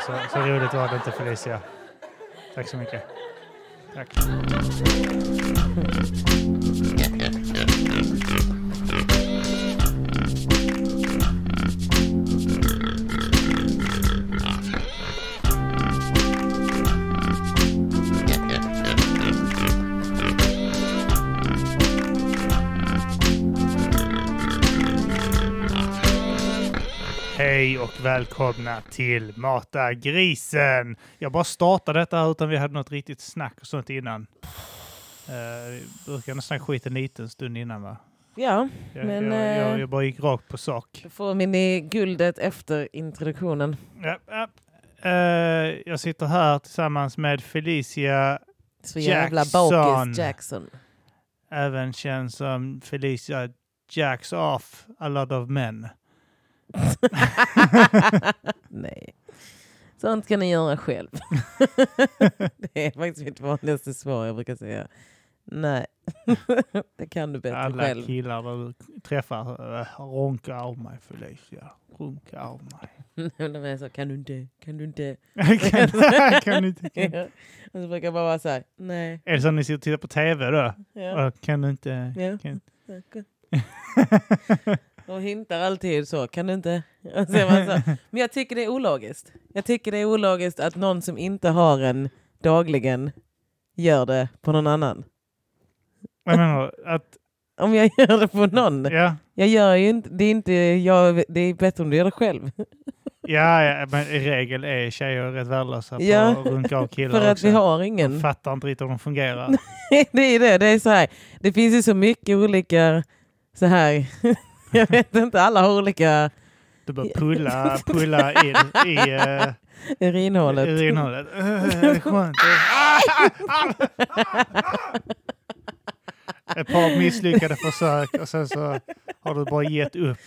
Så, så roligt var det inte Felicia. Tack så mycket. Tack. Hej och välkomna till Mata grisen. Jag bara startade detta här utan vi hade något riktigt snack och sånt innan. Eh, Vi brukar nästan skita en liten stund innan va? Ja, Jag, Men, jag, jag, eh, jag bara gick rakt på sak. då får ni guldet efter introduktionen. Ja, ja. Eh, jag sitter här tillsammans med Felicia, Så jävla Jackson. bakis Jackson. även känd som Felicia Jacks off a lot of men. Nej. Sånt kan ni göra själv. det är faktiskt mitt vanligaste svar jag brukar säga. Nej, det kan du bättre Alla själv. killar du träffar eh, runkar av mig Felicia. Runka av mig. De är så, kan du inte, kan du inte. kan, kan du inte, kan, Och så brukar jag bara vara så här, nej. Är det så att ni sitter och tittar på tv då? Ja. Och Kan du inte... Ja. Kan... De hintar alltid så, kan du inte? Och så är man så, men jag tycker det är ologiskt. Jag tycker det är ologiskt att någon som inte har en dagligen gör det på någon annan. Jag menar att... Om jag gör det på någon. Ja, Jag gör ju inte, det är inte, jag, det är bättre om du gör det själv. ja, ja men i regel är tjejer rätt värdelösa på Ja, att runka av killar För att också. vi har ingen. Fattar inte riktigt hur de fungerar. det är det, det är så här. Det finns ju så mycket olika, så här. jag vet inte, alla har olika Du bara pulla, pulla in i eh, urinhålet. urinhålet. Uh, skönt. Ett par misslyckade försök och sen så har du bara gett upp.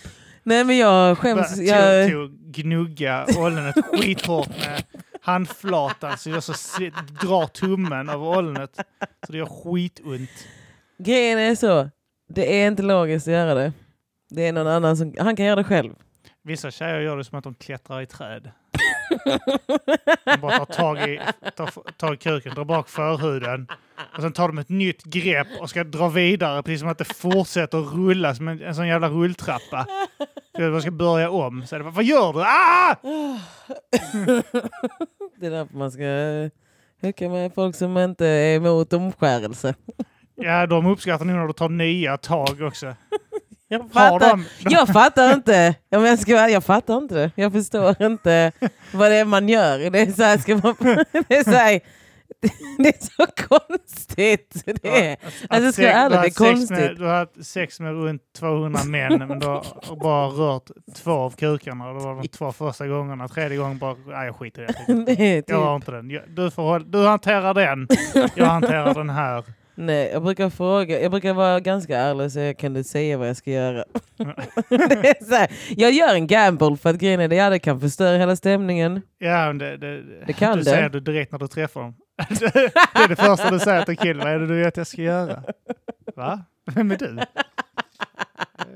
Nej men jag skäms. Jag... Jag, Tog, tog gnugga ollonet skithårt med handflatan så jag så se- drar tummen över ollonet så det gör skitont. Grejen är så, det är inte logiskt att göra det. Det är någon annan som, han kan göra det själv. Vissa tjejer gör det som att de klättrar i träd. De bara tar tag i, tar, tar i kuken, drar bak förhuden och sen tar de ett nytt grepp och ska dra vidare precis som att det fortsätter att rulla som en, en sån jävla rulltrappa. Så de ska börja om. Så är det, bara, vad gör du? Ah! Det är därför man ska hucka med folk som inte är emot omskärelse. Ja, de uppskattar nog när du tar nya tag också. Jag Har fattar, de, jag fattar inte. Om jag, ska, vara- jag fattar inte det. Jag förstår inte vad det är man gör. Det är så här, ska man, det är så, här, det är så konstigt. Det är. Att Alltså, ska jag sex- vara ärlig, du har det är haft sex konstigt. Med, du har haft sex med runt 200 män men du har bara rört två av kukarna. Och Det var de två första gångerna. Tredje gången bara, nej jag skiter i det. Det är Jag typ. har inte den. Jag- Du, får, hålla- du hanterar den. Jag hanterar den här. Nej, jag brukar fråga. Jag brukar vara ganska ärlig så jag kan du säga vad jag ska göra. det är så här, jag gör en gamble för att grejen är det, ja, det kan förstöra hela stämningen. Ja, men det, det, Det kan du det. säger du direkt när du träffar dem. det är det första du säger till killen. Vad är det du vet jag ska göra? Va? Vem är du?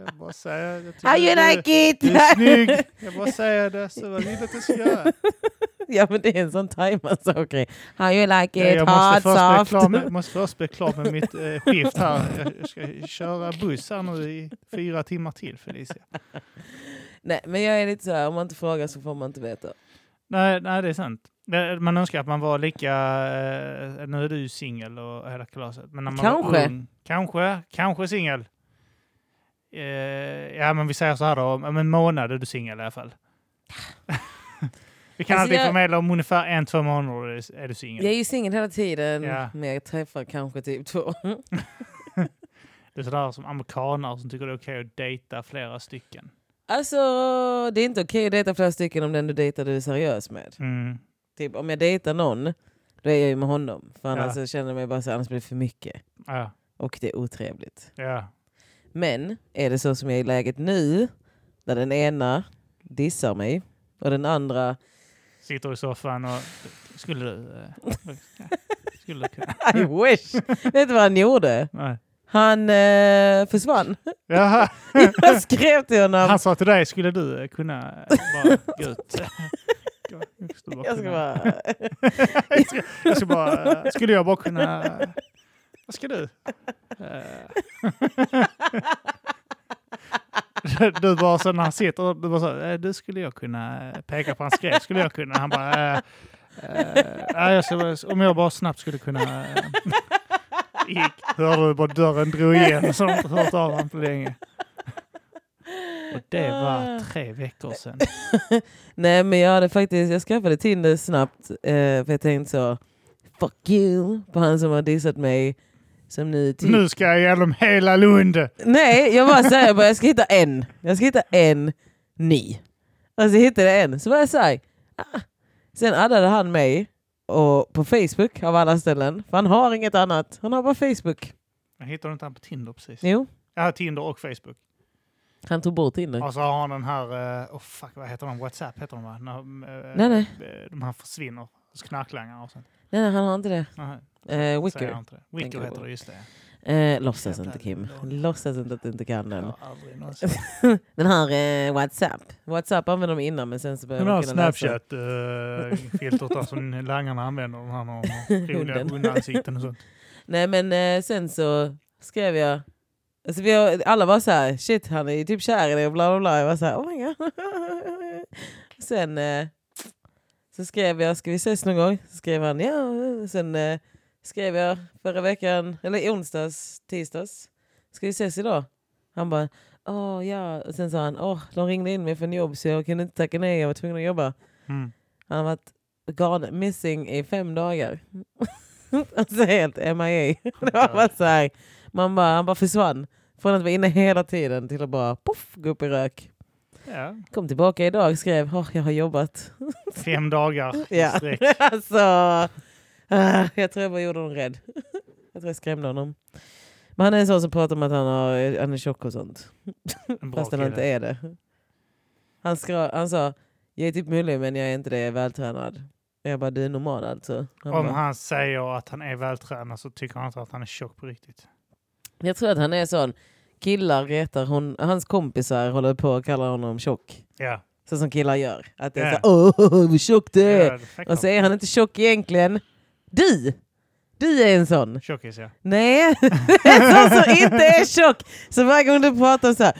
Jag bara säger, jag tycker How you du, like it? du är snygg. Jag bara säger det. Så vad vill du att jag ska göra? ja men det är en sån tajmad sak. How you like Ja, it? jag måste först, bli Hard, soft. klar med, måste först bli klar med mitt eh, skift här. Jag- Jag ska köra buss här nu i fyra timmar till Felicia. Nej men jag är lite så här, om man inte frågar så får man inte veta. Nej, nej det är sant. Det- Man önskar att man var lika... Eh, nu är du ju singel och hela kalaset. Men när man Var Kanske. ung, kanske. Kanske singel. Eh, ja men vi säger så här då. Om en månad är du singel i alla fall. vi kan Alltså, alltid jag- förmedla om ungefär en, två månader är du singel. Jag är ju singel hela tiden, Ja. men jag träffar kanske typ två. Det är sådär som amerikaner som tycker det är okej att dejta flera stycken. alltså det är inte okej att dejta flera stycken om den du dejtar du är seriös med. Mm. Typ om jag dejtar någon, då är jag ju med honom. För annars Ja. så känner jag mig bara så här, annars blir det för mycket. Ja, Och det är otrevligt. ja. Men är det så som jag är i läget nu, där den ena dissar mig och den andra Sitter i soffan och... Skulle du... eh, Skulle du kunna... I wish! Vet du vad han gjorde? Nej. Han eh, försvann. Jaha. Jag skrev till honom. Han sa till dig, skulle du eh, kunna eh, bara gå ut? ska, jag ska bara... Jag ska kunna- bara... jag ska, jag ska bara eh, skulle jag bara kunna... eh, Vad ska du? Eh. du bara så när han sitter, du bara så, eh, du skulle jag kunna eh, peka på hans grej, skulle jag kunna? Han bara, eh, eh, nej, jag ska, bara- om jag bara snabbt skulle kunna... eh." Gick, hörde du bara dörren drog igen så har inte hört av honom på länge. Och det var tre veckor sedan. Nej men jag hade faktiskt, jag skaffade Tinder snabbt eh, för jag tänkte så Fuck you på han som har dissat mig. Som nu, typ- Nu ska jag igenom hela Lund! Nej jag bara såhär, jag, bara, jag ska hitta en. Jag ska hitta en ny. Och så hittade jag en. Så var jag såhär. Ah. Sen addade han mig och på Facebook av alla ställen. För han har inget annat. Han har bara Facebook. Jag hittade inte han på Tinder precis. Jo, Ja, Tinder och Facebook. han tog bort Tinder. Och så har han den här, eh, oh fuck vad heter de, Whatsapp heter de va? När, eh, Nej, nej. eh, De här försvinner, knarklangarna och sånt. Nej, nej han har inte det. Nej, Eh, säger jag Wicker. inte det. Wicker tänker heter på. det, just det. Eh, låtsas inte Jävla Kim. lång. Låtsas inte att du inte kan Jag den. har aldrig någonsin. Den här eh, Whatsapp. Whatsapp använde de innan men sen så började Den har man kunna läsa. Snapchat-filtret där som langarna använder. De här med roliga Hunden. hundansikten och sånt. Nej men eh, sen så skrev jag. Alltså vi har, alla var så här, shit han är ju typ kär i dig och bla bla bla. Jag var så här, oh my god. sen eh, så skrev jag, ska vi ses någon gång? Så skrev han, ja. Sen eh, skrev jag förra veckan, eller i onsdags, tisdags. Ska vi ses idag? Han bara, åh ja. Och sen sa han, åh de ringde in mig för en jobb så jag kunde inte tacka nej, jag var tvungen att jobba. Mm. Han har varit gone missing i fem dagar. alltså helt MIA. Det var bara så här, man bara, han bara försvann. Från att vara inne hela tiden till att bara poff, gå upp i rök. Ja, Kom tillbaka idag och skrev oh, jag har jobbat. fem dagar i Ja. sträck. alltså, ah, jag tror jag bara gjorde honom rädd. jag tror jag skrämde honom. Men han är en sån som pratar om att han, har, han är tjock och sånt. En bra Fast han kille. inte är det. Han, skra, han sa, jag är typ mullig men jag är inte det, jag är vältränad. Jag bara, du är normal alltså. Han Om bara, han säger att han är vältränad så tycker han inte att han är tjock på riktigt. Jag tror att han är sån, killar retar, hon, hans kompisar håller på och kallar honom tjock. Ja, Så som killar gör. Att det är Ja. yeah. så, åh vad tjock du är. ja Och så är han inte tjock egentligen. Du! Du är en sån. tjockis ja. Nej, en sån som inte är tjock. Så varje gång du pratar så här,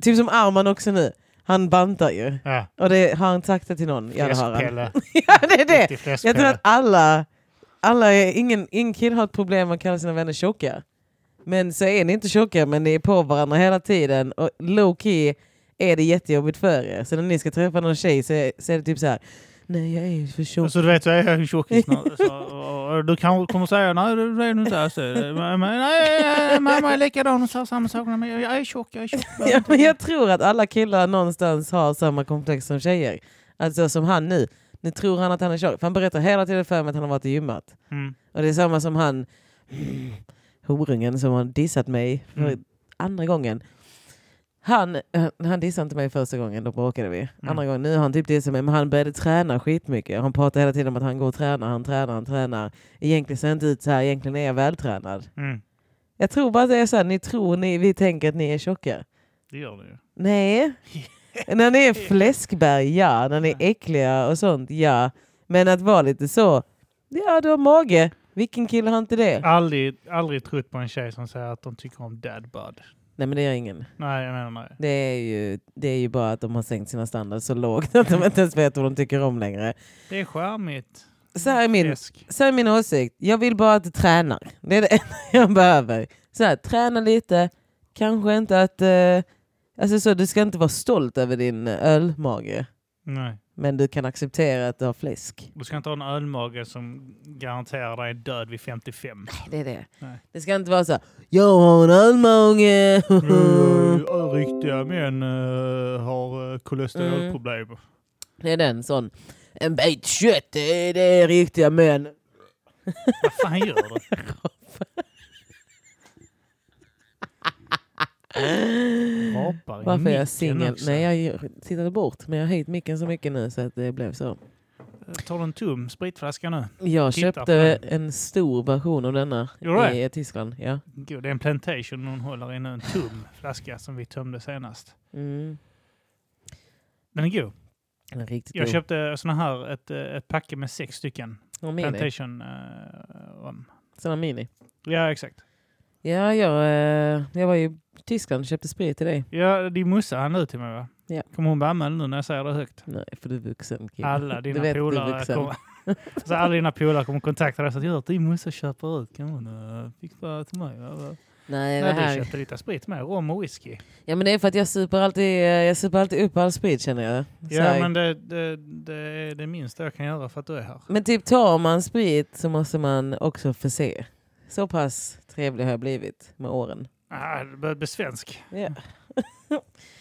typ som Arman också nu, han bantar ju. ja. Och det, har han sagt det till någon? Ja det har han. Fläskpelle. Ja det är det. Riktig fläskpelle. Jag tror att alla, alla är, ingen, ingen kille har ett problem med att kalla sina vänner tjocka. Men så är ni inte tjocka men ni är på varandra hela tiden och low key är det jättejobbigt för er. Så när ni ska träffa någon tjej så är, så är det typ så här. Nej jag är ju för tjock. Så du vet, jag är en tjockis nu. Så, och- och Du kan, kommer säga nej, det det är du inte alls. Men- men- nej, Mamma är likadan, hon sa samma sak. Men jag jag är tjock, jag är tjock. Ja, men jag tror att alla killar någonstans har samma komplex som tjejer. Alltså som han nu. Nu tror han att han är tjock. För han berättar hela tiden för mig att han har varit i gymmet. Mm. Och det är samma som han horungen som har dissat mig för Mm. andra gången. Han, han- han dissade inte mig första gången, då bråkade vi. Andra gången, nu har han typ dissat mig, men han började träna skitmycket. Han pratar hela tiden om att han går och tränar, han tränar, han tränar. Egentligen ser jag inte ut så här, egentligen är jag vältränad. Mm. Jag tror bara att det är så här, ni tror, ni, vi tänker att ni är tjocka. Det gör du ju. Nej. när ni är fläskberg, ja. När ni är äckliga och sånt, ja. Men att vara lite så, ja du har mage. Vilken kille har inte det? Aldrig, aldrig trott på en tjej som säger att de tycker om dadbud. Nej men det gör ingen. Nej, jag menar nej. Det är, ju, det är ju bara att de har sänkt sina standarder så lågt att de inte ens vet vad de tycker om längre. Det är charmigt. Så här är min, Fläsk. så här är min åsikt. Jag vill bara att du tränar. Det är det enda jag behöver. Så här, träna lite. Kanske inte att... Eh, alltså så, du ska inte vara stolt över din eh, ölmage. Nej. Men du kan acceptera att du har fläsk. Du ska inte ha en ölmage som garanterar dig död vid 55. Det är det. Nej. Det ska inte vara så här, jag har en ölmage. Eh, Riktiga män eh, har eh, kolesterolproblem. det är den sån. En bit kött, det är, det är riktiga män. Vad fan gör du? Rapar i Varför är micken jag singel? också. Nej, jag gör- tittade bort. Men jag har höjt micken så mycket nu så att det blev så. Tar du en tom spritflaska nu? Jag Titta på köpte en stor version av denna Gjorde du i eh, Tyskland. Ja. Gud, det är en plantation hon håller i nu. En tom flaska som vi tömde senast. Mm. Den är god. Den är riktigt Jag god. köpte såna här, ett, eh, ett packe med sex stycken Och mini. Plantation eh, rom. Såna mini. Ja, exakt. Ja, jag, eh, jag var i Tyskland och köpte sprit till dig. Ja, din morsa hann ut till mig va? Ja. Kommer hon bli anmäld nu när jag säger det högt? Nej, för du är vuxen. kille. Alla Du vet dina att du är polare vuxen. kommer... alltså, alla dina polare kommer kontakta dig och säga att din morsa köper ut. Kan hon uh, fixa till mig? Va? Va? Nej, det Nej, du här... köpte lite sprit med. Rom och whisky. Ja, men det är för att jag super alltid, eh, jag super alltid upp all sprit känner jag. Så Ja, här- men det, det, det är det minsta jag kan göra för att du är här. men typ tar man sprit så måste man också förse. Så pass trevlig har jag blivit med åren. Ah, du börjar bli svensk. Ja.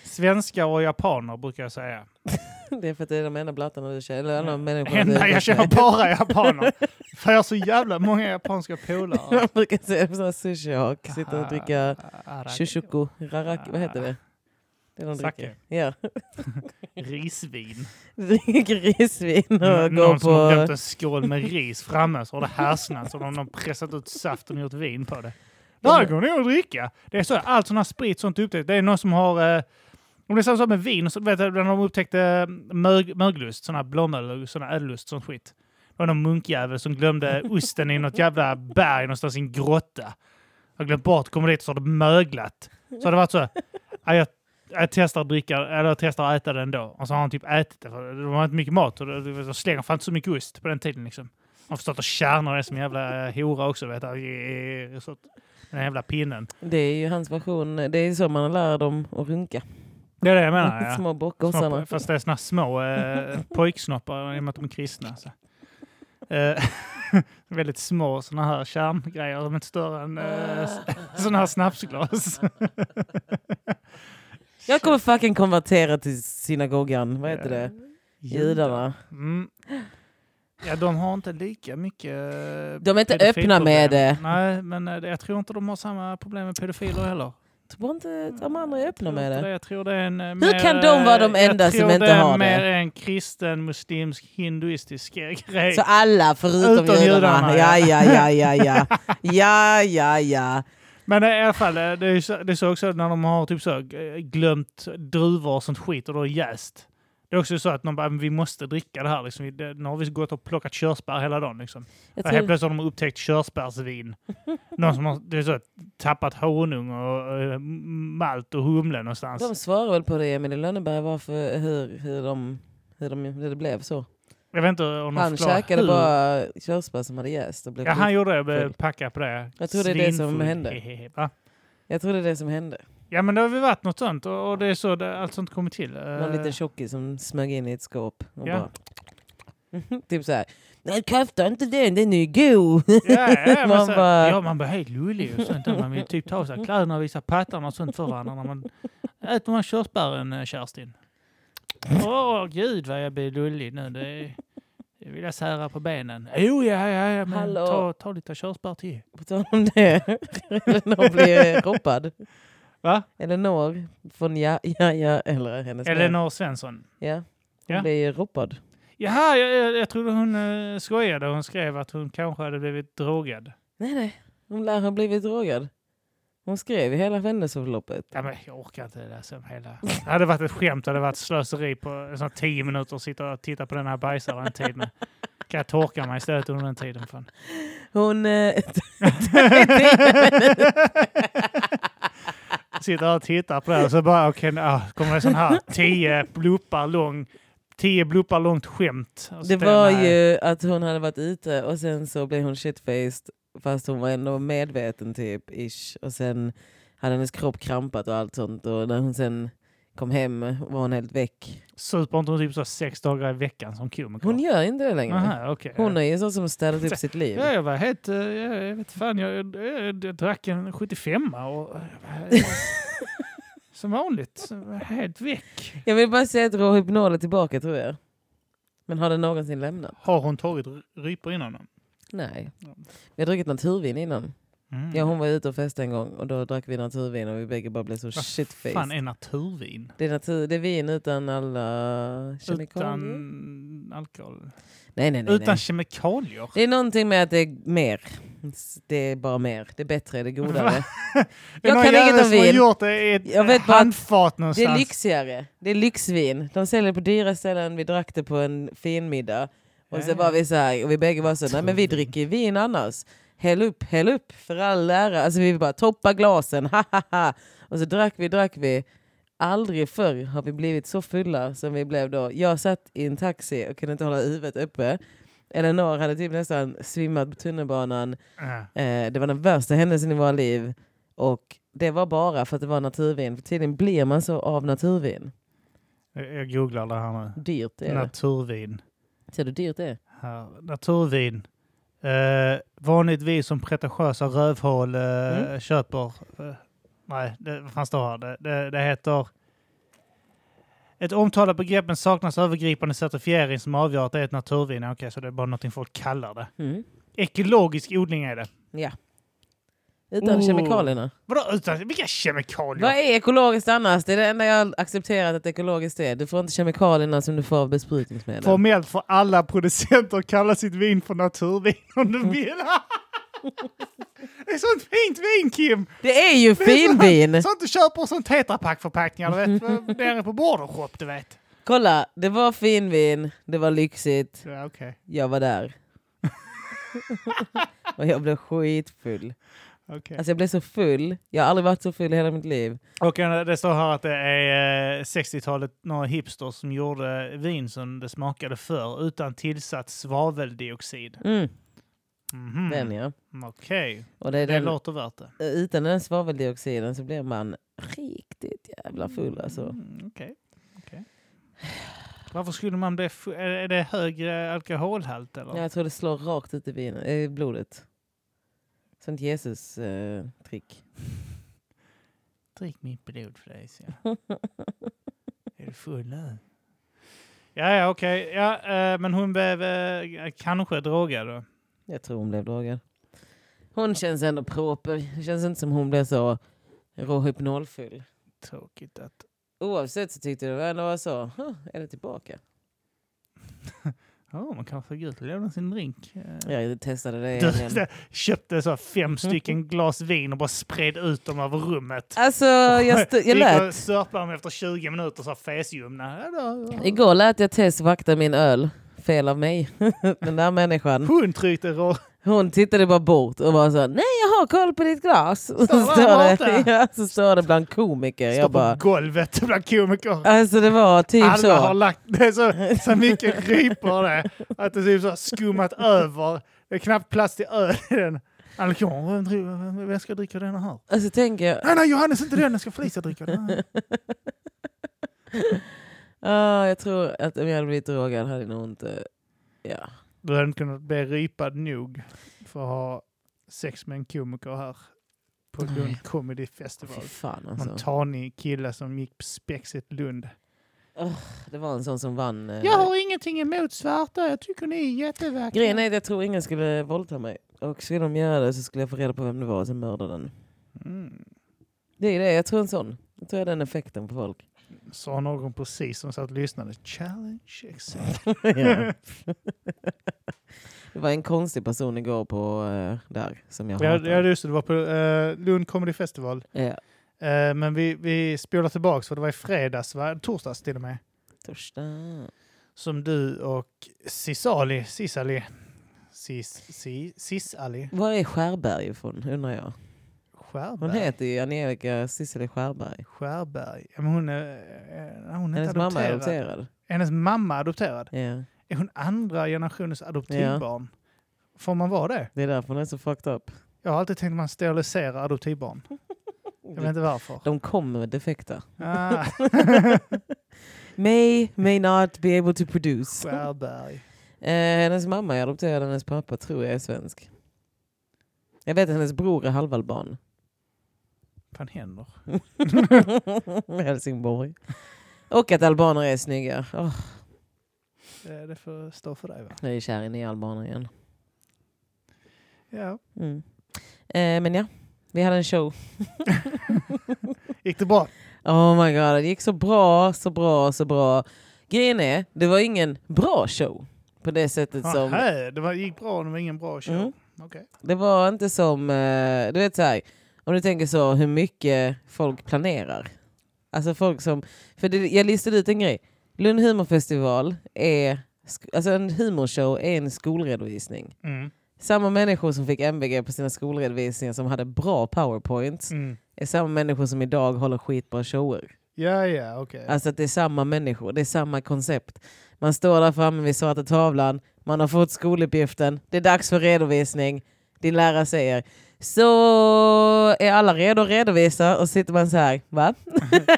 Svenskar och japaner brukar jag säga. Det är för att det är de enda blattarna du känner. Eller alla människorna du Mm. Enda, umgås jag med. känner bara japaner. För jag har så jävla många japanska polare. Man brukar säga på sån här sushi-hak. Sitta och dricka Ah, shushuku, raraki, vad heter det? Det är de dricker. Sake. Ja. Risvin. Dricker risvin och N- någon går som har glömt på... en skål med ris framme så har det härsnats som om de pressat ut saften och gjort vin på det. Det här går nog att dricka. Det är så, allt sån här sprit, sånt upptäckt. Det är någon som har... Eh, om det är samma sak med vin, så vet jag när de upptäckte eh, mög, möglust, sån här blåmöl, sån här ädellust, sånt skit. Det var någon munkjävel som glömde osten i något jävla berg någonstans i en grotta. Har glömt bort, kommer dit så har det möglat. Så har det varit så. Ja, jag, jag testar att dricka, eller jag testar att äta det ändå. Och så har han typ ätit det, för det var inte mycket mat och det- det- de slänger fan inte så mycket ost på den tiden liksom. Man får stå och kärna det som en jävla eh, hora också, vet du. Så att- Den här jävla pinnen. Det är ju hans version. Det är ju så man lär dem att runka. Det är det jag menar, ja. Små Små, bockgossarna. fast det är såna här små eh, pojksnoppar i och med att de är kristna. Så. Eh, väldigt små såna här kärngrejer, de är inte större än eh, s- såna här snapsglas. Jag kommer fucking konvertera till synagogan. Vad heter Eh, det? Judarna. Mm. Ja, de har inte lika mycket... eh, De är inte pedofilproblem. öppna med det. Nej, men eh, jag tror inte de har samma problem med pedofiler heller. Jag tror inte de andra är öppna Jag tror med inte det. Jag tror det är en, eh, Hur kan de vara de enda som inte har det? Jag tror det är mer en kristen, muslimsk, hinduistisk eh, grej. Så alla förutom Utom judarna. judarna, Ja, ja. ja, ja, ja, ja. Ja, ja, ja. Men i alla fall, eh, det är, så, det är så också när de har typ så, eh, glömt druvor och sånt skit och då är jäst. Det är också så att de bara, "Men vi måste dricka det här. Liksom. Vi- det- Nu har vi gått och plockat körsbär hela dagen. Liksom. Jag Och helt tror, plötsligt har de upptäckt körsbärsvin. Någon som har det är så, tappat honung och eh, malt och humle någonstans. de svarar väl på det, Emil i Lönneberg, varför, hur, hur, de, hur, de, hur det blev så. Jag vet inte om de Han förklarar käkade hur. bara körsbär som hade jäst. Och blev Ja, han sjuk. gjorde det. Jag blev Full. packad på det. Jag tror det är det som Svinfull. hände. Hehehe, va? Jag tror det är det som hände. Ja, men det har väl varit något sånt och och det är så det, allt sånt kommer till. Någon Eh, liten tjockis som smög in i ett skåp. Och Ja. bara, typ så här. Nej, kafta inte den, den är ju god. Ja, ja, Man man, så, bara- ja, man blir helt lullig och sånt. Man vill typ ta sig kläderna och visa pattarna och sånt för varandra. När man, äter man körsbären, eh, Kerstin? Åh, gud vad jag blir lullig nu. Det är, det vill jag sära på benen. Jo, ja, ja, ja, men Hallå. ta, ta lite körsbär till. På tal om det. Elinor blir roppad. Va? Elinor från Ja, ja, ja, eller hennes man. Elinor Svensson. Ja. Hon Ja. blir roppad. Jaha, jag, jag, jag trodde hon eh, skojade. Hon skrev att hon kanske hade blivit drogad. Nej, nej. Hon lär ha blivit drogad. Hon skrev i hela händelseförloppet. Ja, men jag orkar inte läsa om hela. Det hade varit ett skämt, det hade varit slöseri på en sån här tio minuter och sitta och titta på den här bajsaren en tid. Men kan jag torka mig istället under den tiden? Fan. Hon... Eh, Sitta och titta på det här och så bara, okej, nu, ah, kommer det sån här tio bloppar lång, tio bloppar långt skämt. Och så det tänkte var jag, nej. ju att hon hade varit ute och sen så blev hon shitfaced fast hon var ändå medveten typ, ish. Och sen hade hennes kropp krampat och allt sånt och när hon sen kom hem var hon helt väck. Super inte hon typ så sex dagar i veckan som komiker? Hon gör inte det längre. Aha, okej. Hon är ju sån som städat upp sitt liv. Ja, jag var helt... eh, Jag, jag vet fan, jag, jag, jag, jag drack en 75 och... eh, som vanligt. som- Helt väck. Jag vill bara säga att Rohypnol är tillbaka tror jag. Men har den någonsin lämnat? Har hon tagit r- rypor innan? då? Nej. Vi har druckit naturvin innan. Mm. Ja, hon var ute och festade en gång och då drack vi naturvin och vi bägge bara blev så Vad shitfaced. fan är naturvin? Det är, natur, det är vin utan alla kemikalier. Utan alkohol? Nej, nej, nej. Utan nej. kemikalier? Det är någonting med att det är mer. Det är bara mer. Det är bättre, det är godare. Det är Jag någon kan inget jävel om som har vin. gjort det i ett Jag vet bara att handfat Det någonstans. är lyxigare. Det är lyxvin. De säljer det på dyra ställen. Vi drack det på en fin middag. Och så Ja. var vi så här, och vi bägge var så, nej men vi dricker ju vin annars. Häll upp, häll upp för all ära. Alltså vi bara toppa glasen, ha ha ha. Och så drack vi, drack vi. Aldrig förr har vi blivit så fulla som vi blev då. Jag satt i en taxi och kunde inte hålla huvudet uppe. Eleanor hade typ nästan svimmat på tunnelbanan. Ja. Eh, det var den värsta händelsen i våra liv. Och det var bara för att det var naturvin. För tydligen blir man så av naturvin. Jag googlar det här nu. Dyrt är det. Naturvin. Ser du hur dyrt det är? Här. Naturvin. Eh, vanligtvis som pretentiösa rövhål eh, Mm. köper. Eh, nej, det, vad fan står här? Det, det, det heter... Ett omtalat begrepp men saknas övergripande certifiering som avgör att det är ett naturvin. Okej, så det är bara någonting folk kallar det. Mm. Ekologisk odling är det. Ja. Utan Oh. kemikalierna. Vadå utan? Vilka kemikalier? Vad är ekologiskt annars? Det är det enda jag har accepterat att ekologiskt är. Du får inte kemikalierna som du får av besprutningsmedel. Formellt får alla producenter kalla sitt vin för naturvin om de vill. Det är sånt fint vin Kim! Det är ju finvin! Sånt du köper sånt tetrapackförpackningar du vet. Nere på Bordershop du vet. Kolla, det var finvin, det var lyxigt, Ja, okej. jag var där. Och jag blev skitfull. okej. Alltså jag blev så full. Jag har aldrig varit så full i hela mitt liv. Och eh, det står här att det är eh, 60-talet några hipsters som gjorde vin som det smakade för utan tillsatt svaveldioxid. Mm, Mhm. Den ja. Mm, Okej, Och det är det den, låter värt det. Eh, utan den svaveldioxiden så blir man riktigt jävla full alltså. Mm, Okej. okej. Varför skulle man bli... fu- Är är det högre alkoholhalt eller? Jag tror det slår rakt ut i vin- eh, blodet. eh, Sånt Jesus-trick. Drick mitt blod för dig, så jag. Är du full nu? Ja, ja, okej. Ja, eh, men hon blev eh, kanske drogad då. jag tror hon blev drogad. Hon känns ändå proper. Det känns inte som hon blev så råhypnolfull. Tråkigt att... Oavsett så tyckte jag det ändå var så. "Huh, Är det tillbaka? Ja, man kan få gå ut och lämna sin drink. Eh, Jag testade det Du igen. köpte så fem stycken glas vin och bara spred ut dem över rummet. Alltså, jag, stod, jag lät Gick och sörplade dem efter 20 minuter så här fesljumna. Ja, då- Igår lät jag Tess vakta min öl. Fel av mig. Den där människan. Hon tryckte rå... Hon tittade bara bort och var så här, nej jag har koll på ditt glas. Och så, Står det där står det, borta? ja, så står det bland komiker. Står Jag bara, på golvet bland komiker. alltså det var typ Alla har så. lagt det är så, så mycket rypor det att det typ så har skummat över. Det är knappt plats till öl i den. Alltså, vem, dri- vem- vem ska dricka den här? Alltså tänker jag, Nej, nej, Johannes inte den. Jag ska Felicia dricka den. här." ah, jag tror att om jag hade blivit drogad hade jag nog inte, ja. Du hade inte kunnat bli rypad nog för att ha sex med en komiker här på Nej. Lund Comedy Festival. Fy fan Någon alltså. Eh. tanig kille som gick på spexet Lund. Det var en sån som vann. eh, Jag har ingenting emot svarta. Jag tycker ni är jättevackra. Grejen är att jag tror ingen skulle våldta mig. Och skulle de göra det så skulle jag få reda på vem det var och sen mörda den. Mm. Det är det, jag tror en sån. Jag tror jag har den effekten på folk. Sa någon precis som satt och lyssnade. Challenge accepted. Ja. det var en konstig person igår på eh, där som jag Ja, hatar. ja just det. Det var på eh, Lund Comedy Festival. Ja, Eh, men vi, vi spolar tillbaka för det var i fredags, va? torsdags till och med, torsdag. som du och Sisali, Sisali, Sis, si, Sisali Var är Skärberg ifrån undrar jag? Hon Skärberg. heter ju Angelica Sissela Skärberg. Skärberg. Ja, men hon är, eh, hon är Hennes inte mamma adopterad. är adopterad. Hennes mamma är adopterad. Ja, Är hon andra generationens adoptivbarn? Får man vara det? det är därför hon är så fucked up. Jag har alltid tänkt att man steriliserar adoptivbarn. Jag vet inte varför. De kommer defekta. Ah, May, may not be able to produce. Skärberg. Eh, hennes mamma är adopterad, hennes pappa tror jag är svensk. Jag vet att hennes bror är halvalban. Vad fan händer? Helsingborg. Och att albaner är snygga. Åh, Eh, Det får stå för dig va? jag är kär i nya albaner igen. Ja. Mm. Eh, men ja, vi hade en show. Gick det bra? Oh my god, det gick så bra, så bra, så bra. Grejen är, det var ingen bra show på det sättet som... Ah, Aha, det var, gick bra, det var ingen bra show. Mm. Okej. Det var inte som, eh, du vet så här, om du tänker så hur mycket folk planerar. Alltså folk som, för det, jag listade ut en grej. Lund humorfestival är, sk- alltså en humorshow är en skolredovisning. Mm. Samma människor som fick MVG på sina skolredovisningar som hade bra powerpoints Mm. är samma människor som idag håller skitbra shower. Ja, ja, okej. Alltså att det är samma människor, det är samma koncept. Man står där framme vid svarta tavlan, man har fått skoluppgiften, det är dags för redovisning. Din lärare säger så är alla redo att redovisa och sitter man så här, va?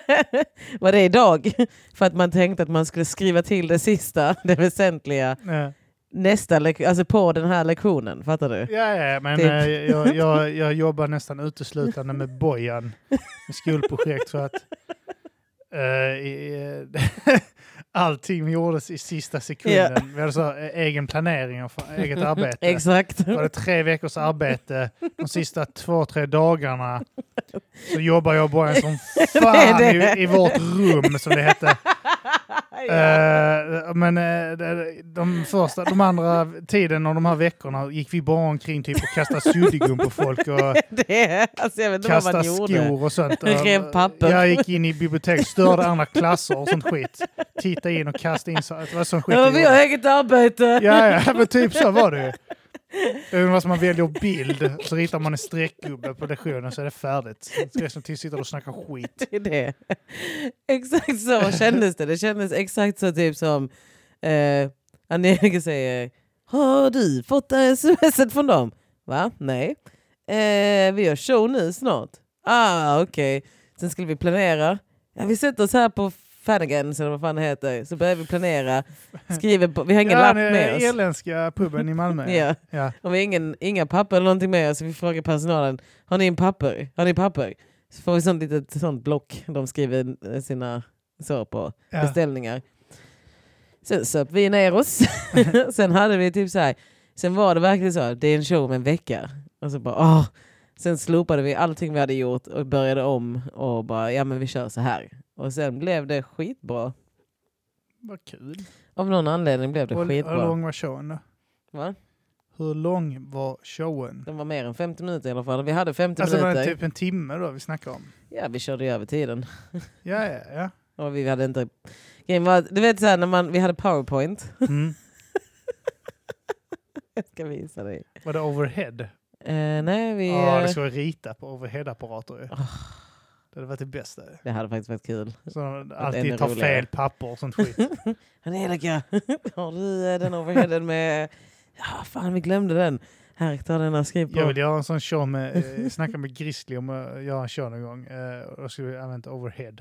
Var det idag? För att man tänkte att man skulle skriva till det sista, det väsentliga, Ja, nästa lek- alltså på den här lektionen. Fattar du? ja, ja, men Typ. eh, jag, jag, jag jobbar nästan uteslutande med Bojan med skolprojekt så att eh, i- eh, allting gjordes i sista sekunden. Vi hade så här, eh, egen planering och fa- eget arbete. Exakt. var det tre veckors arbete. De sista två, tre dagarna så jobbar jag bara som fan Det är det. I, i vårt rum som det hette. Eh, men eh, de- de, första, de andra tiden och de här veckorna gick vi bara omkring typ och kastade suddgum på folk och Det är, alltså jag vet inte vad man kastade gjorde. skor och sånt. Eh, Rev papper. Jag gick in i bibliotek, störde andra klasser och sånt skit. Titta in och kasta in. Så, det var sån skit Ja, vi vi har gjorde. eget arbete! Ja, ja, men typ så var det ju. Det är ungefär som man väljer bild, så ritar man en streckgubbe på lektionen så är det färdigt. Resten till sitter och snackar skit. Det är det. Exakt så kändes det. Det kändes exakt så typ som eh, Angelica säger Har du fått sms från dem? Va? Nej. Eh, vi gör show nu snart. Ah, okej. Sen skulle vi planera. Ja, vi sätter oss här på Fannigans eller vad fan det heter. Så börjar vi planera. Skriver på, vi har ingen lapp den med oss. irländska puben i Malmö. Ja. Ja. Och vi har ingen, inga papper eller någonting med oss. Så vi frågar personalen, har ni en papper? Har ni papper? Så får vi sånt litet sånt block de skriver eh, sina så på Ja. beställningar. Sen söp vi ner oss. sen hade vi typ så här. Sen var det verkligen så här, det är en show om en vecka. Och så bara, åh. Sen slopade vi allting vi hade gjort och började om och bara, ja men vi kör så här. Och sen blev det skitbra. Vad kul. Av någon anledning blev det Och Hur skitbra. lång var showen då? Va? Hur lång var showen? Den var mer än 50 minuter i alla fall. Vi hade 50 Alltså var minuter. det typ en timme då vi snackade om? Ja, vi körde ju över tiden. Ja, ja, ja. Och vi hade inte... Grejen var, du vet så här, när man, vi hade powerpoint. Mm. Jag ska visa dig. Var det overhead? Eh, nej, vi... Ja, eh, det ska vi rita på overhead-apparater ju. Det hade varit det bästa. ju. Ah. det hade faktiskt varit kul. Så de ännu alltid tar roligare. fel papper och sånt skit. Angelica, har du eh, den overheaden med... Ja, fan vi glömde den. Här, ta den här skriv på. Jag vill göra en sån show med, eh, snacka med Grizzly om att göra en show någon gång. Eh, och då skulle vi använda overhead.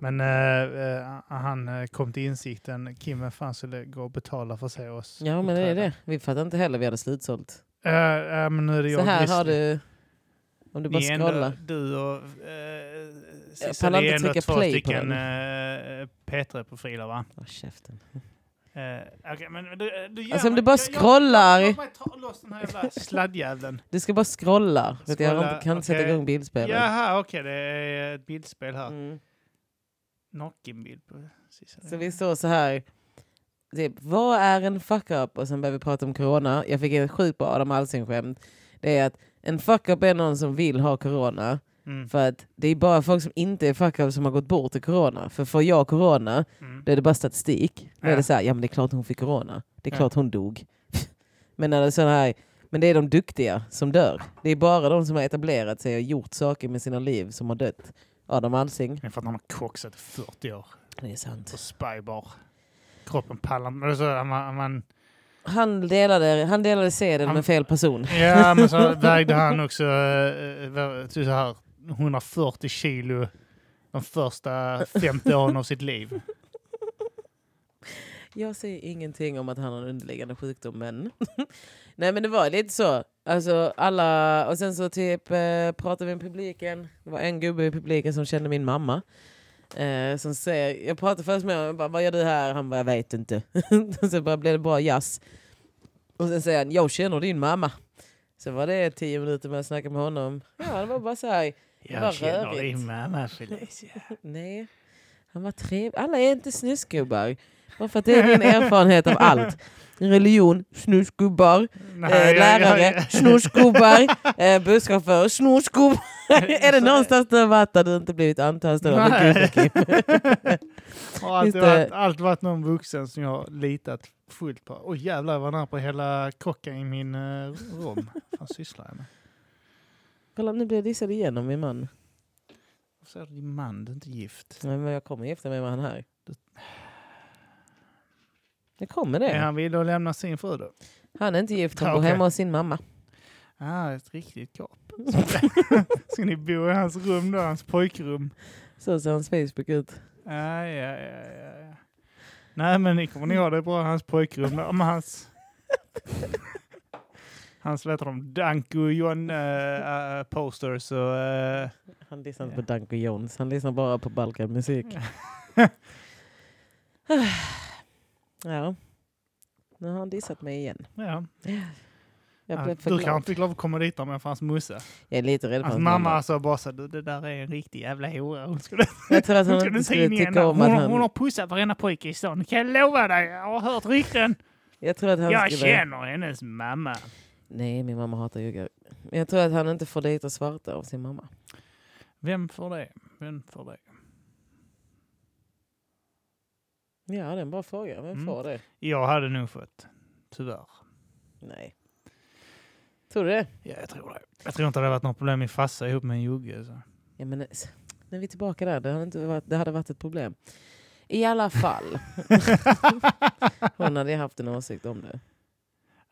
Men eh, eh, han eh, kom till insikten, Kim vem fan skulle gå och betala för att se oss Ja, men det är uppträda? det. Vi fattar inte heller, vi hade slutsålt. Eh, eh, men nu är det jag Så och här har Grizzly. du... Om du bara Ni är ändå- scrollar. Du och eh, Sissa, pallar ni är inte ändå trycka två play på stycken den. eh, P3-profiler va? Åh, käften. Eh, okej, men du, du gör Alltså om mig- du bara jag- jag- scrollar. Låt mig ta loss den här jävla sladdjäveln. Du ska bara scrolla. För att jag har inte- kan inte sätta Scrolla, igång bildspelet. Jaha, okej, det är ett bildspel här. Mm. Nockenbild på Sissa. Så vi står så här. Typ, vad är en fuck-up? Och sen börjar vi prata om corona. Jag fick en sjukt bra Adam Alsing-skämt. Det är att en fuck-up är någon som vill ha corona. Mm. För att det är bara folk som inte är fuck-up som har gått bort i corona. För får jag corona, Mm. då är det bara statistik. Då är Ja. det så här, ja men det är klart hon fick corona. Det är Ja. klart hon dog. men när det är så här, men det är de duktiga som dör. Det är bara de som har etablerat sig och gjort saker med sina liv som har dött. Adam Alsing. Det är för att han har koksat i 40 år Det är sant. på spybar. Kroppen pallar men så, han, var- han, var- Han delade, han delade sedeln Han- med fel person. Ja, men så vägde han också eh, var- typ så här, 140 kilo de första 50 åren av sitt liv. Jag säger ingenting om att han har en underliggande sjukdom, men... Nej, men det var lite så. Alltså, alla... Och sen så typ eh, pratade vi med publiken. Det var en gubbe i publiken som kände min mamma. Eh, som säger, jag pratade först med honom, jag bara, vad gör du här? Han bara, jag vet inte. så bara blev det bara jazz. Och sen säger han, jag känner din mamma. Så var det tio minuter med att snacka med honom. Ja, det var bara så här, Jag Vad känner rörigt. din mamma Felicia. nej. Han var trevlig. Alla är inte snusgubbar. Bara för att det är din erfarenhet av allt. Religion, snusgubbar, eh, lärare, snusgubbar, eh, busschaufförer, snusgubbar. är det någonstans du har varit där du inte blivit antastad av en Nej. gubbe, Kim? Har alltid Just det. varit, alltid varit någon vuxen som jag har litat fullt på. Åh jävlar, jag var nära på hela kocken i min eh, rom. Vad sysslar jag med? Kolla, nu blir jag dissad igen av min man. Varför säger du din man? Du är inte gift. Nej, men jag kommer gifta mig med han här. Det kommer det. Är han villig att lämna sin fru då? Han är inte gift, Ja, han bor okej. hemma hos sin mamma. Ah, ett riktigt gap. Ska ni bo i hans rum då? Hans pojkrum? Så ser hans Facebook ut. Ah, ja, ja, ja, ja. Nej, men ni kommer ni ha det bra i hans pojkrum då? Med hans... Hans, vad heter de? Danko John eh, eh, posters och... eh, Han lyssnar inte på Danko Jones, han lyssnar bara på Balkanmusik. ja. Nu har han dissat mig igen. ja. Jag Ja, blev för du kan glad. inte glad att komma dit om jag fanns Musse. Jag är lite rädd för Hans hans mamma sa bara så du det där är en riktig jävla hora. Hon skulle, Jag tror att hon hon skulle inte in inte Alltså, skulle i henne. tycka om Hon, att hon har han... pussat varenda pojke i stan. Kan jag lova dig, jag har hört rykten. Jag tror att han Jag skulle... känner hennes mamma. Nej, min mamma hatar juggar. Men jag tror att han inte får dejta svarta av sin mamma. Vem får det? Vem får det? Ja, det är en bra fråga. Vem Mm. får det? Jag hade nog fått. Tyvärr. Nej. Tror du det? Ja, jag tror det. Jag tror inte det hade varit något problem med farsa ihop med en jugge. Så. Ja, men, s- nu är vi tillbaka där. Det hade, inte varit, det hade varit ett problem. I alla fall. Hon hade ju haft en åsikt om det.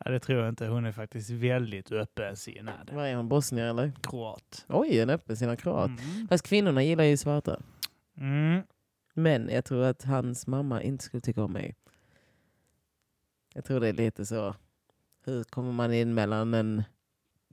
Ja, det tror jag inte. Hon är faktiskt väldigt öppensinnad. Vad är hon? Bosnier eller? Kroat. Oj, en öppensinnad kroat. Mm. Fast kvinnorna gillar ju svarta. Mm. Men jag tror att hans mamma inte skulle tycka om mig. Jag tror det är lite så. Hur kommer man in mellan en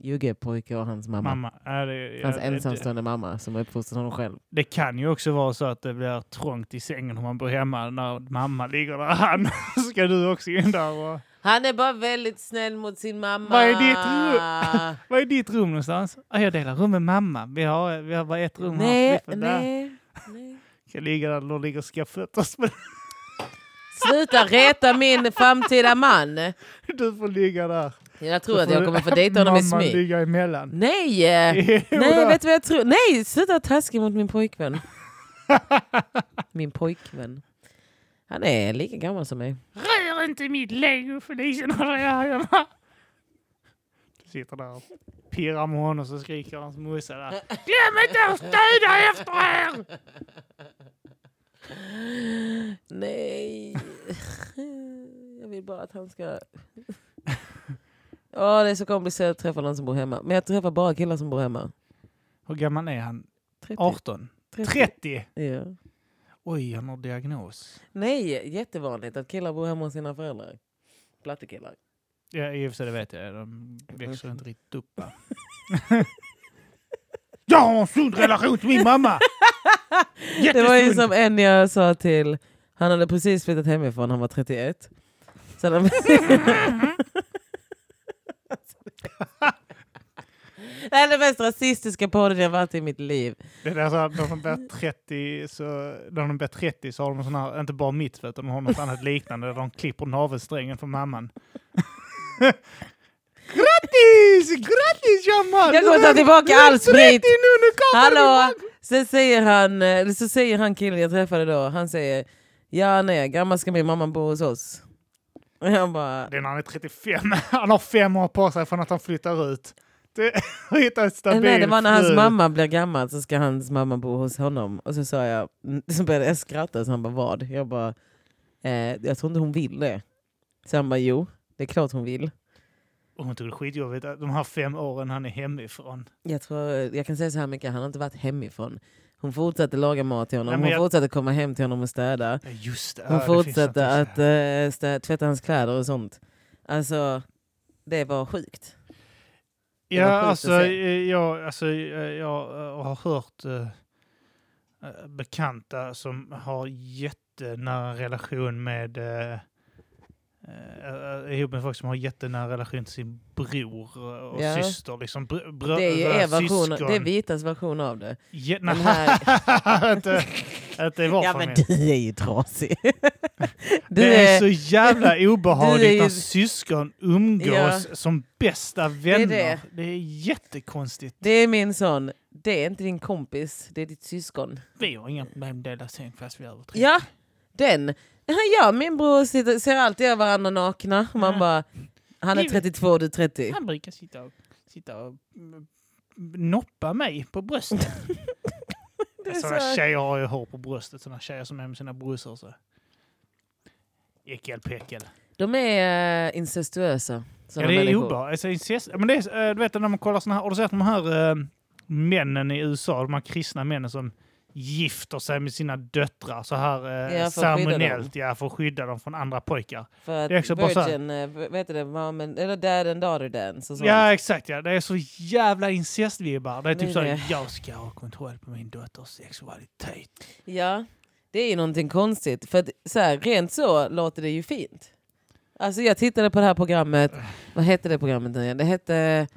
juggepojke och hans mamma? Mamma. Ja, det, ja, Hans det- ensamstående mamma som uppfostrat honom själv. Det kan ju också vara så att det blir trångt i sängen om man bor hemma när mamma ligger där. Han ska du också in där. Och... Han är bara väldigt snäll mot sin mamma. Vad är ditt rum? Vad är ditt rum någonstans? Ah, jag delar rum med mamma. Vi har, vi har bara ett rum Nej, här. Nej. nej, nej. Jag ligger där och ligger och ska föttas. Men Sluta reta min framtida man. du får ligga där. Jag Då tror att får jag kommer få dejta honom i Mamma smyg. ligga emellan. Nej! eh. Jo Nej, då. vet du vad jag tror? Nej, sluta vara taskig mot min pojkvän. Min pojkvän. Han är lika gammal som mig. Rör inte mitt lego Felicia när jag är hemma. Du sitter där och pirrar med honom så skriker hans morsa där. Glöm inte att städa efter er! Nej. Jag vill bara att han ska... Ja, det är så komplicerat att träffa någon som bor hemma. Men jag träffar bara killar som bor hemma. Hur gammal är han? 30. 18? 30. 30? Ja. Oj, han har diagnos. Nej, jättevanligt att killar bor hemma hos sina föräldrar. Plattekillar. Ja, i och för sig det vet jag. De växer inte riktigt upp. va? jag har en sund relation till min mamma! Det var ju Jättesund. som en jag sa till, han hade precis flyttat hemifrån, han var 31. Så de... Det här är den mest rasistiska podden jag varit i mitt liv. Det är så här, när de blir 30 så, när de blir 30 så har de sån här, inte bara mitt utan de har något annat liknande där de klipper navelsträngen för mamman. grattis! Grattis Jamal! Jag kommer ta tillbaka Du är all sprit. 30 nu, nu kommer Hallå! du! Sen säger han, eller så säger han killen jag träffade då, han säger Ja nej, gammal ska min mamma bo hos oss. Och jag bara, Det är när han är 35. Han har fem år på sig från att han flyttar ut. Det, och hittar ett stabilt Nej, det var när hans fru. mamma blev gammal så ska hans mamma bo hos honom. Och så sa jag, så började jag skratta, så han bara vad? Jag bara, eh, jag tror inte hon vill det. Så han bara jo, det är klart hon vill. Och hon tog det skitjobbigt de här fem åren han är hemifrån. Jag, tror, jag kan säga så här mycket, han har inte varit hemifrån. Hon fortsatte laga mat till honom, Nej, men hon jag- fortsatte komma hem till honom och städa. Ja, Just det. Hon Ja, det finns fortsatte något att också. eh, stä- tvätta hans kläder och sånt. Alltså, det var sjukt. det Ja, var sjukt att alltså, se. eh, jag, alltså, eh, jag eh, har hört eh, eh, bekanta som har jättenära relation med eh, eh, eh, ihop med folk som har jättenära relation till sin bror eh, och Ja. syster. Liksom, br- br- Det är ju eh, er version, syskon. det är vitas version av det. Ja, Den nej. Vänta. Att det var Ja från men er. du är ju trasig. Du Det är så är, jävla obehagligt du är ju- när syskon umgås som bästa vänner. Det är, det. jättekonstigt. det är min son. Det är inte din kompis, det är ditt syskon. Vi har inga problem att dela säng fast vi är över 30. Ja, den. Ja, min bror sitter, ser alltid över varandra nakna. Man Ja. bara, han är Livet- 32 du är 30. Han brukar sitta och, sitta och mm, noppa mig på bröstet. är Sådana så- tjejer har ju hår på bröstet. Sådana tjejer som är med sina brorsor. Så. Äckel päckel. De är eh, incestuösa. Ja, såna det är människor. obehagligt. Alltså, incest- men det är, eh, du vet när man kollar såna här, har du sett de här eh, männen i USA, de här kristna männen som gifter sig med sina döttrar så här eh, Ja, för att skydda ceremoniellt, ja, för att skydda dem från andra pojkar. För att Det är också bara så här- Virgin, eh, v- vad heter det, Mom and- eller Dad and Daughter Dance och sånt. Ja, exakt ja. Det är så jävla incestvibbar. Det är typ Det så är här, jag ska ha kontroll på min dotters sexualitet. Ja, det är ju någonting konstigt. För att, så här, rent så låter det ju fint. Alltså jag tittade på det här programmet, vad hette det programmet nu igen? Det hette,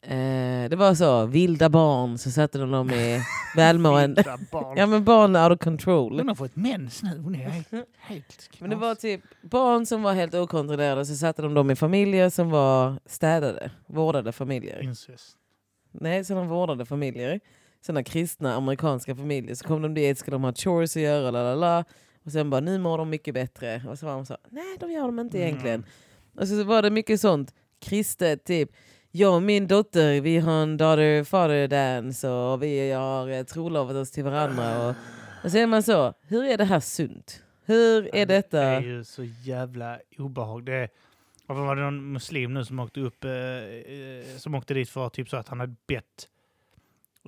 eh, det var så, vilda barn, så satte de dem i välmående. Vilda barn. Ja men barn out of control. Hon har fått mens nu. Hon är helt, helt Men det var typ barn som var helt okontrollerade så satte de dem i familjer som var städade, vårdade familjer. incest. Nej, så de vårdade familjer. Sådana kristna amerikanska familjer. Så kom de dit, ska de ha chores att göra, la la la. Och sen bara, nu mår de mycket bättre. Och så var de så, nej de gör de inte Mm. egentligen. Och så var det mycket sånt kristet, typ. Jag och min dotter, vi har en daughter father dance och vi har eh, trolovat oss till varandra. Och, och så är man så, hur är det här sunt? Hur är detta? Det är ju så jävla obehag. Det är, varför var det någon muslim nu som åkte upp eh, eh, som åkte dit för typ så att han hade bett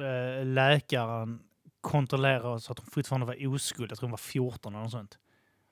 eh, läkaren kontrollera så att hon fortfarande var oskuld. Jag tror hon var 14 eller något sånt.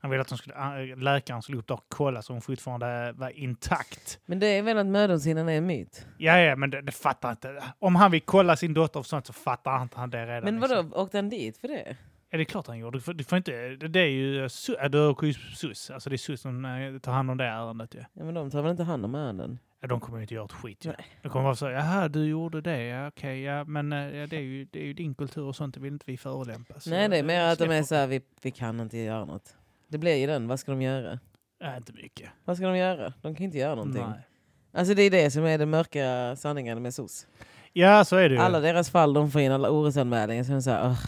Han ville att hon skulle, eh, läkaren skulle upp där och kolla så hon fortfarande var intakt. Men det är väl att mödomshinnan är en myt? Ja, ja, men det, det fattar inte. Om han vill kolla sin dotter och sånt så fattar inte han det redan. Men liksom. vadå, åkte han dit för det? Ja, det är klart han gjorde. Du får, du får inte, det, det är ju... su- ja, Du åker ju SUS. Alltså det är SUS som eh, tar hand om det ärendet ju. Ja, men de tar väl inte hand om ärenden? Ja, de kommer ju inte göra ett skit. Ju. De kommer vara så här, jaha, du gjorde det, ja, okej, ja, men eh, ja, det, är ju, det är ju din kultur och sånt, det vill inte vi förolämpa. så, Nej, det är eh, mer att de är släpp så här, vi, vi kan inte göra något. Det blir ju den, vad ska de göra? upp. Nej, inte mycket. Vad ska de göra? De kan inte göra någonting. Nej. Alltså det är det som är den mörka sanningen med SOS. Ja, så är det ju. Alla deras fall, de får in alla orosanmälningar. Så de säger, "Ugh,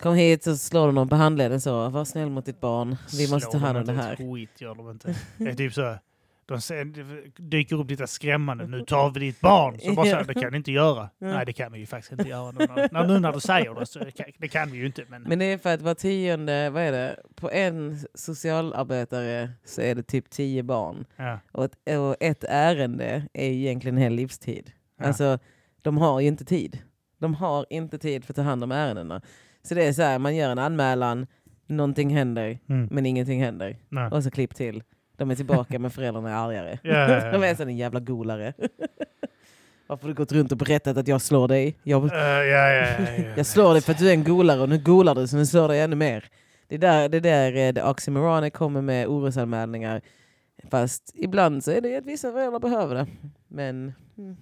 kom hit så slår de någon på handleden så, var snäll mot ditt barn. Vi måste ta Slår hand de om det inte ett här. Skit gör de inte. Det är typ så, här, de säger- dyker upp lite skrämmande, nu tar vi ditt barn. Så bara så här, det kan ni inte göra. Nej, det kan vi ju faktiskt inte göra. Nu när, nu när du säger det, så det kan, det kan vi ju inte. Men, Men det är för att var tionde, vad är det, på en socialarbetare så är det typ tio barn. ja. Och ett, och ett ärende är ju egentligen en hel livstid. Ja. Alltså, de har ju inte tid. De har inte tid för att ta hand om ärendena. Så det är så här, man gör en anmälan, någonting händer, Mm. men ingenting händer. Nej. Och så klipp till. De är tillbaka men föräldrarna är argare. Ja, ja, ja. De är sån en jävla golare. Varför har du gått runt och berättat att jag slår dig? Jag, Eh, ja, ja, ja, ja. jag slår dig för att du är en golare och nu golar du så nu slår jag dig ännu mer. Det är där det, där, eh, det oxymoronic kommer med orosanmälningar. Fast ibland så är det ju att vissa föräldrar behöver det. Men mm.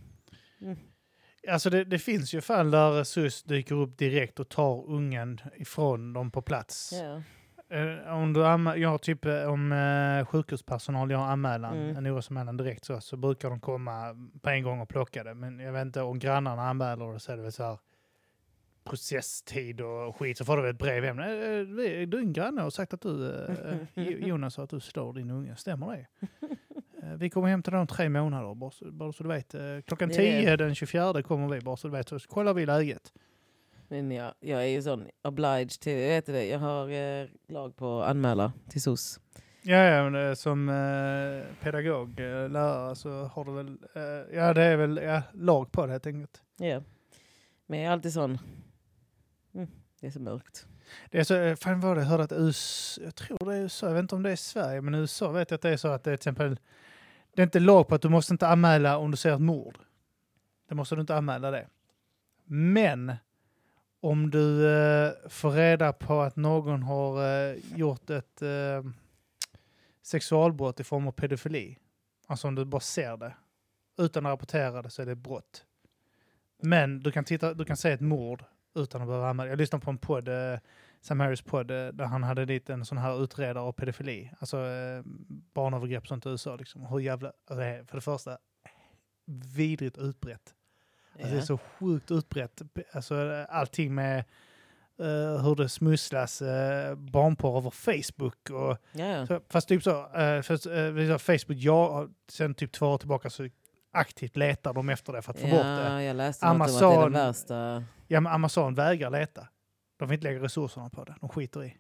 Alltså det, det finns ju fall där SUS dyker upp direkt och tar ungen ifrån dem på plats. ja. Eh, om du anmä- jag har typ eh, om eh, sjukhuspersonal gör anmälan, Mm. en orosanmälan direkt så, så brukar de komma på en gång och plocka det. Men jag vet inte om grannarna anmäler det så är det väl så här processtid och skit så får du väl ett brev hem. Eh, eh, vi- Din granne har sagt att du, eh, eh, Jo- Jonas sa att du slår din unge, stämmer det? Eh, Vi kommer hämta dig om tre månader, bara så, bara så du vet. Eh, Klockan Det är 10 det. den 24 kommer vi, bara så du vet. Så kollar vi läget. men jag, jag är ju sån obliged till, jag vet det, jag har eh, lag på att anmäla till SOS. Ja, ja men eh, som eh, pedagog, eh, lärare, så har du väl... Eh, ja, det är väl ja, lag på det helt enkelt. Ja. Men jag är alltid sån... Mm, det är så mörkt. Det är så, eh, fan vad var det, jag hörde att US, jag tror det är USA, jag vet inte om det är Sverige, men i USA vet jag att det är så att det är till exempel... Det är inte lag på att du måste inte anmäla om du ser ett mord. Det måste du inte anmäla det. Men om du eh, får reda på att någon har eh, gjort ett eh, sexualbrott i form av pedofili, alltså om du bara ser det, utan att rapportera det så är det ett brott. Men du kan, titta, du kan se ett mord utan att behöva anmäla. Jag lyssnade på en podd, eh, Sam Harris podd eh, där han hade dit en sån här utredare av pedofili. Alltså eh, barnövergrepp och sånt i USA. Liksom. Hur jävla, alltså, det är för det första, vidrigt utbrett. Alltså, Det är Ja. så sjukt utbrett. Alltså, eh, allting med eh, hur det smusslas eh, barnporr över Facebook. Och, Ja, ja. så, fast typ så, eh, för, eh, vi sa Facebook, jag har sen typ två år tillbaka så aktivt letar de efter det för att få bort det. Ja, jag läste Amazon. att det är Amazon- den värsta. Ja, men Amazon vägrar leta. De vill inte lägga resurserna på det. De skiter i.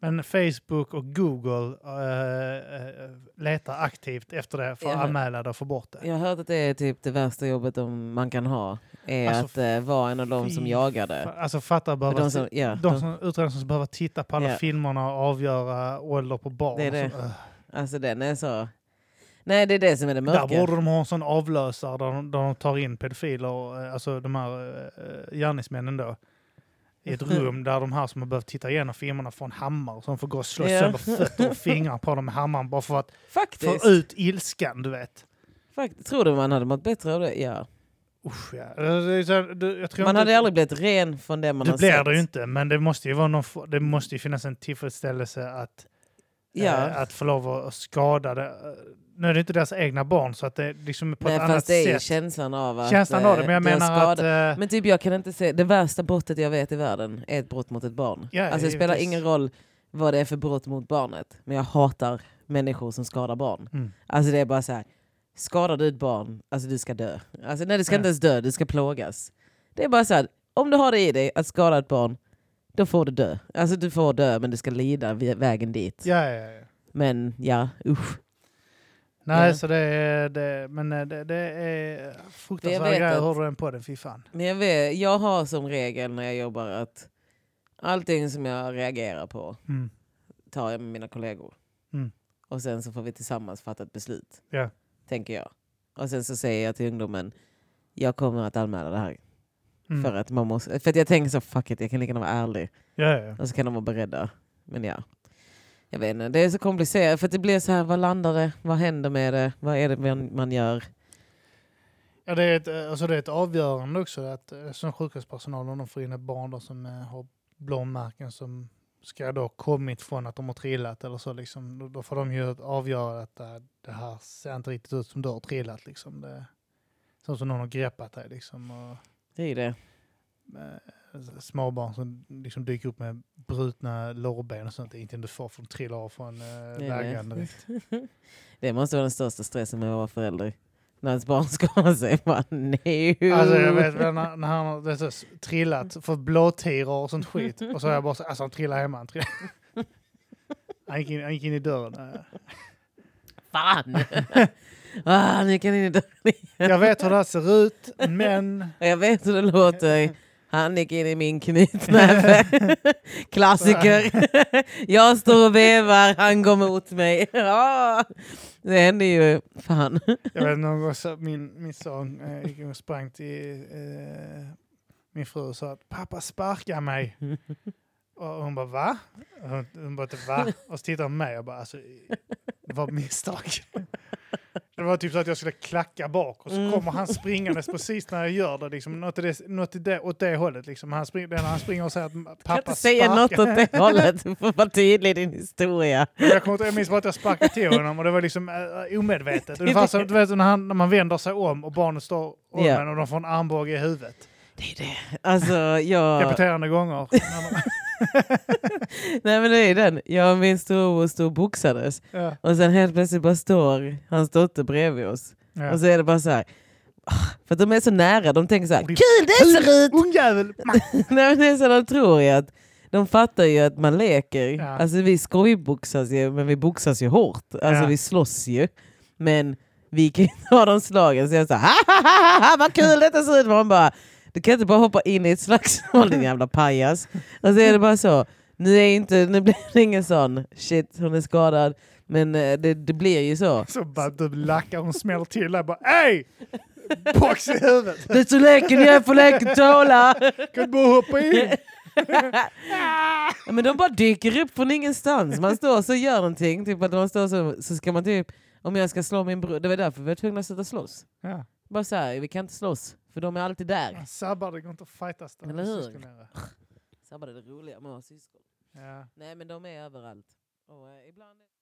Men Facebook och Google eh, eh, letar aktivt efter det för att Ja. anmäla det och få bort det. Jag har hört att det är typ det värsta jobbet de, man kan ha. Är Alltså, att eh, vara en av de som fy jagar det. Fa- Alltså fatta För behöva... De som, ja, de de, som utredarna som behöver titta på alla Ja. filmerna och avgöra ålder på barn. Det är det. Så, eh, alltså den är så... Nej, det är det som är det där mörka. borde de ha en sån avlösare där de, där de tar in pedofiler, och, eh, alltså de här eh, gärningsmännen då. I Mm. ett rum där de här som har behövt titta igenom filmerna får en hammare som får gå och slå Ja. sönder fötter och fingrar på dem med hammaren bara för att Faktiskt. få ut ilskan, du vet. Fakt, tror du man hade mått bättre av det? Ja. Usch, ja. Det är så här, du- Jag tror Man inte, hade aldrig blivit ren från det man det har blir sett. det ju inte, men det måste ju, vara någon, f- det måste ju finnas en tillfredsställelse att, Ja. eh, att få lov att skada det. Eh, Nu är det inte deras egna barn, så att det är liksom på Nej, ett fast annat det är ju sätt. känslan av att Känslan av det, eh, men jag du har menar att... skadat- eh, Men typ jag kan inte se, det värsta brottet jag vet i världen är ett brott mot ett barn. Ja, alltså det spelar givetvis. ingen roll vad det är för brott mot barnet, men jag hatar människor som skadar barn. Mm. Alltså det är bara så här, skadar du ett barn, alltså du ska dö. Alltså nej du ska Ja. inte ens dö, du ska plågas. Det är bara så här, om du har det i dig att skada ett barn, då får du dö. Alltså du får dö men du ska lida vä- vägen dit. Ja, ja, ja. Men ja, usch. Nej, Ja. så det är... Det, men eh, det, det är fruktansvärda vet grejer. att- Hör du den på den? Fy fan. Men jag, vet, jag har som regel när jag jobbar att allting som jag reagerar på Mm. tar jag med mina kollegor. Mm. Och sen så får vi tillsammans fatta ett beslut. Ja. Tänker jag. Och sen så säger jag till ungdomen, jag kommer att anmäla det här. Mm. För, att man måste, för att jag tänker så, fuck it, jag kan lika gärna vara ärlig. Ja, ja, ja. Och så kan de vara beredda. Men ja. Jag vet inte, det är så komplicerat. För att det blir så här, vad landar det? Vad händer med det? Vad är det man- man gör? ja det, är ett, eh, alltså det är ett avgörande också att eh, som sjukvårdspersonal om de får in ett barn då, som eh, har blåmärken som ska då ha kommit från att de har trillat eller så liksom. Då, då får de ju att avgöra att eh, det här ser inte riktigt ut som du har trillat liksom. Det, som som någon har greppat dig liksom. Och, Det är ju det. eh, småbarn som liksom dyker upp med brutna lårben och sånt. Det är inte du får för de trillar av från eh, det. vägen direkt. Det måste vara den största stressen med att vara förälder. När ens barn skadar sig. Bara, nej. Alltså jag vet väl när, när han har det är så, s- trillat, fått blåtiror och sånt skit. Och så har jag bara så, alltså han trillade hemma. Han, trillade. han, gick in, han gick in i dörren. Eh, Fan! ah, nu kan ni dö. Jag vet hur det här ser ut, men... Och Jag vet hur det låter. Han gick in i min knytnäve. Klassiker. Jag står och vevar, han går mot mig. Ah, Det hände ju. Fan. Jag vet någon gång så min, min son eh, gick och sprang till eh, min fru och sa att pappa sparkar mig. Och hon bara va? Och Hon, hon bara inte va? Och så tittade hon på mig och bara alltså det var ett misstag. Det var typ så att jag skulle klacka bak och så Mm. kommer han springandes precis när jag gör det. Liksom, något i det, något i det, åt det hållet. Liksom. Han, spring, det är när han springer och säger att Kan pappa inte säga något sparkar. åt det hållet. Du får vara tydlig i din historia. Men Jag, kommer inte- jag minns bara att jag sparkade till honom och det var liksom äh, omedvetet. Ungefär som du vet, när, han, när man vänder sig om och barnet står om Ja. en och de får en armbåge i huvudet. Det är det. Alltså, jag... Repeterande gånger. När man- Nej men det är den. Jag och min storebror stod och boxades. ja, Och sen helt plötsligt bara står hans dotter bredvid oss. ja. Och så är det bara så här. "Ah", För att de är så nära. De tänker så här. Och det- Kul det ser ut! Ungjävel! Nej, men det är så de tror ju att de fattar ju att man leker. Ja. Alltså vi skojboxas ju, men vi boxas ju hårt. Alltså Ja. vi slåss ju. Men vi kan ju inte ha de slagen. Så jag sa ha ha ha ha, vad kul detta ser ut! Man bara, du kan inte bara hoppa in i ett slagsmål din jävla pajas. Och så är det bara så. Nu, är inte, nu blir det ingen sån, shit hon är skadad. Men eh, det, det blir ju så. Så bara du lackar, hon smäller till dig bara Ey! Box i huvudet! Det är så leken jag får leken tåla! Kan du bara hoppa in? Ja, men de bara dyker upp från ingenstans. Man står så och gör någonting. Typ att man står så, så ska man typ, om jag ska slå min bror, det var därför vi var tvungna att sluta slåss. Ja. Bara så här, vi kan inte slåss, för de är alltid där. Sabbar, det går inte att fightas där. Eller hur? Syskon är det. Så här var det det roliga med att ha syskon. Ja. Nej men de är överallt. Och eh, ibland...